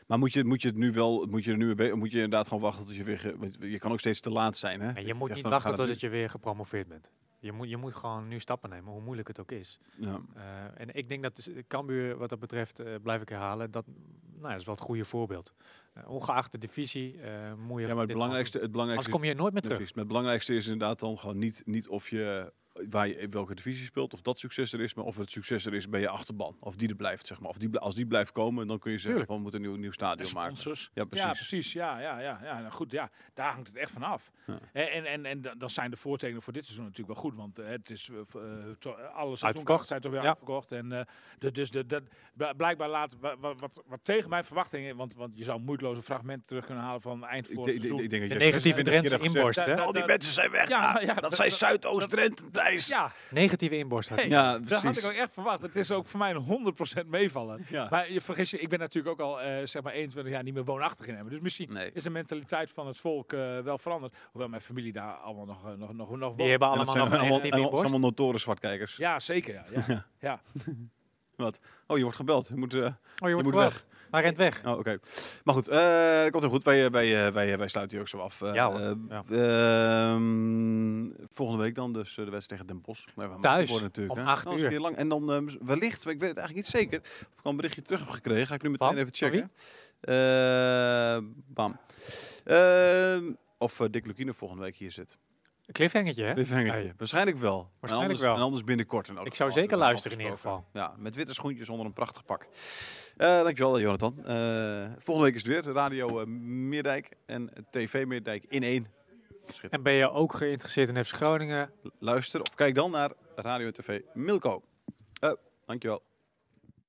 Speaker 2: Maar moet je, moet je het nu wel, moet je er nu bij, moet je inderdaad gewoon wachten tot je weer, ge- want je kan ook steeds te laat zijn, hè?
Speaker 4: En je moet
Speaker 2: zegt
Speaker 4: niet
Speaker 2: van,
Speaker 4: wachten
Speaker 2: gaat het
Speaker 4: totdat je weer gepromoveerd bent. Je moet, je moet gewoon nu stappen nemen, hoe moeilijk het ook is.
Speaker 2: nu- Ja.
Speaker 4: Eh, en ik denk dat is- Cambuur, wat dat betreft, eh, blijf ik herhalen, dat, nou, ja, dat is wel het goede voorbeeld. Eh, ongeacht de divisie eh moet je...
Speaker 2: Ja, maar het
Speaker 4: dit
Speaker 2: belangrijkste, het belangrijkste
Speaker 4: gewoon- Anders kom je er nooit meer
Speaker 2: Ja,
Speaker 4: terug.
Speaker 2: precies. Maar het belangrijkste is inderdaad dan gewoon niet, niet of je waar je welke divisie speelt, of dat succes er is, maar of het succes er is bij je achterban. Of die er blijft, zeg maar. Of die, bl- als die blijft komen, dan kun je zeggen
Speaker 4: Tuurlijk.
Speaker 2: van we moeten een nieuw, nieuw stadion maken.
Speaker 3: Sponsors.
Speaker 2: Ja, precies.
Speaker 3: Ja, precies. Ja, ja, ja, ja. Nou goed, ja, daar hangt het echt van af.
Speaker 2: Ja.
Speaker 3: En, en, en, en da- dan zijn de voortekenen voor dit seizoen natuurlijk wel goed. Want eh, het is eh, v- eh, to- eh, alle seizoenen
Speaker 4: Uitverkocht.
Speaker 3: zijn toch weer
Speaker 4: Ja.
Speaker 3: uitverkocht. En, eh, de- dus de, dat bl- blijkbaar laat wa- wa- wat, wat tegen mijn verwachtingen... Want, want je zou moeidloos een fragment terug kunnen halen van eind
Speaker 2: Ik,
Speaker 3: voor
Speaker 2: denk- ik, denk-
Speaker 3: seizoen.
Speaker 2: ik denk dat
Speaker 4: De
Speaker 2: je
Speaker 4: negatieve
Speaker 2: 26 keer
Speaker 4: Drentse
Speaker 2: hebt gezegd,
Speaker 4: inborst,
Speaker 3: Da-
Speaker 4: hè?
Speaker 3: da-
Speaker 2: Al die
Speaker 3: da-
Speaker 2: mensen zijn weg.
Speaker 3: Ja,
Speaker 2: Ah,
Speaker 3: ja,
Speaker 2: dat,
Speaker 3: dat-
Speaker 2: zijn
Speaker 3: dat-
Speaker 2: Zuidoost-Drenthe, Thijs.
Speaker 3: Ja,
Speaker 4: Negatieve inborst had je.
Speaker 3: Hey,
Speaker 2: Ja,
Speaker 3: dat had ik
Speaker 2: precies.
Speaker 3: ook echt verwacht. Het is ook voor mij een 100% meevallen.
Speaker 2: Ja.
Speaker 3: Maar je vergis je, ik ben natuurlijk ook al eh, zeg maar 21 jaar niet meer woonachtig in Emmen. Dus misschien
Speaker 2: Nee.
Speaker 3: is de mentaliteit van het volk eh, wel veranderd. Hoewel mijn familie daar allemaal nog, eh, nog, nog, nog
Speaker 4: Die
Speaker 3: woont.
Speaker 4: hebben
Speaker 2: En dat zijn
Speaker 4: allemaal nog een
Speaker 2: allemaal,
Speaker 4: negatieve
Speaker 2: allemaal,
Speaker 4: inborst.
Speaker 2: allemaal notoren zwartkijkers.
Speaker 3: Ja, zeker. Ja, ja. ja.
Speaker 2: Oh, je wordt gebeld. Je moet, eh,
Speaker 4: Oh, je
Speaker 2: je
Speaker 4: wordt
Speaker 2: moet
Speaker 4: geweld.
Speaker 2: weg.
Speaker 4: Hij rent weg.
Speaker 2: Oh, oké. Maar goed, eh, dat komt heel goed. Wij, eh, wij, eh, wij, eh, wij sluiten hier ook zo af. Eh,
Speaker 4: Ja, hoor.
Speaker 2: eh,
Speaker 4: Ja.
Speaker 2: ehm, volgende week dan dus eh, de wedstrijd tegen Den Bosch. Maar we gaan
Speaker 4: Thuis,
Speaker 2: wakker worden
Speaker 4: om
Speaker 2: hè.
Speaker 4: acht
Speaker 2: Dan is het
Speaker 4: uur.
Speaker 2: weer lang. En dan eh, wellicht, maar ik weet het eigenlijk niet zeker, of ik al een berichtje terug heb gekregen. Ga ik nu meteen
Speaker 4: Van?
Speaker 2: even
Speaker 4: Van
Speaker 2: checken. Eh, bam. Ehm, of eh, Dick Lukine volgende week hier zit.
Speaker 4: Een cliffhangertje, hè?
Speaker 2: Cliffhangertje.
Speaker 4: Nee.
Speaker 2: Waarschijnlijk wel. En
Speaker 4: Waarschijnlijk
Speaker 2: anders,
Speaker 4: wel.
Speaker 2: En anders binnenkort. in elk
Speaker 4: Ik zou
Speaker 2: geval.
Speaker 4: zeker
Speaker 2: Dat is
Speaker 4: luisteren in ieder
Speaker 2: afgesproken. Ja, met witte schoentjes onder een prachtig pak. Eh dankjewel, Jonathan. Eh, volgende week is het weer Radio eh, Meerdijk en TV Meerdijk in één.
Speaker 4: En ben je ook geïnteresseerd in FC Groningen?
Speaker 2: Luister of kijk dan naar Radio en TV Milko. Eh, dankjewel.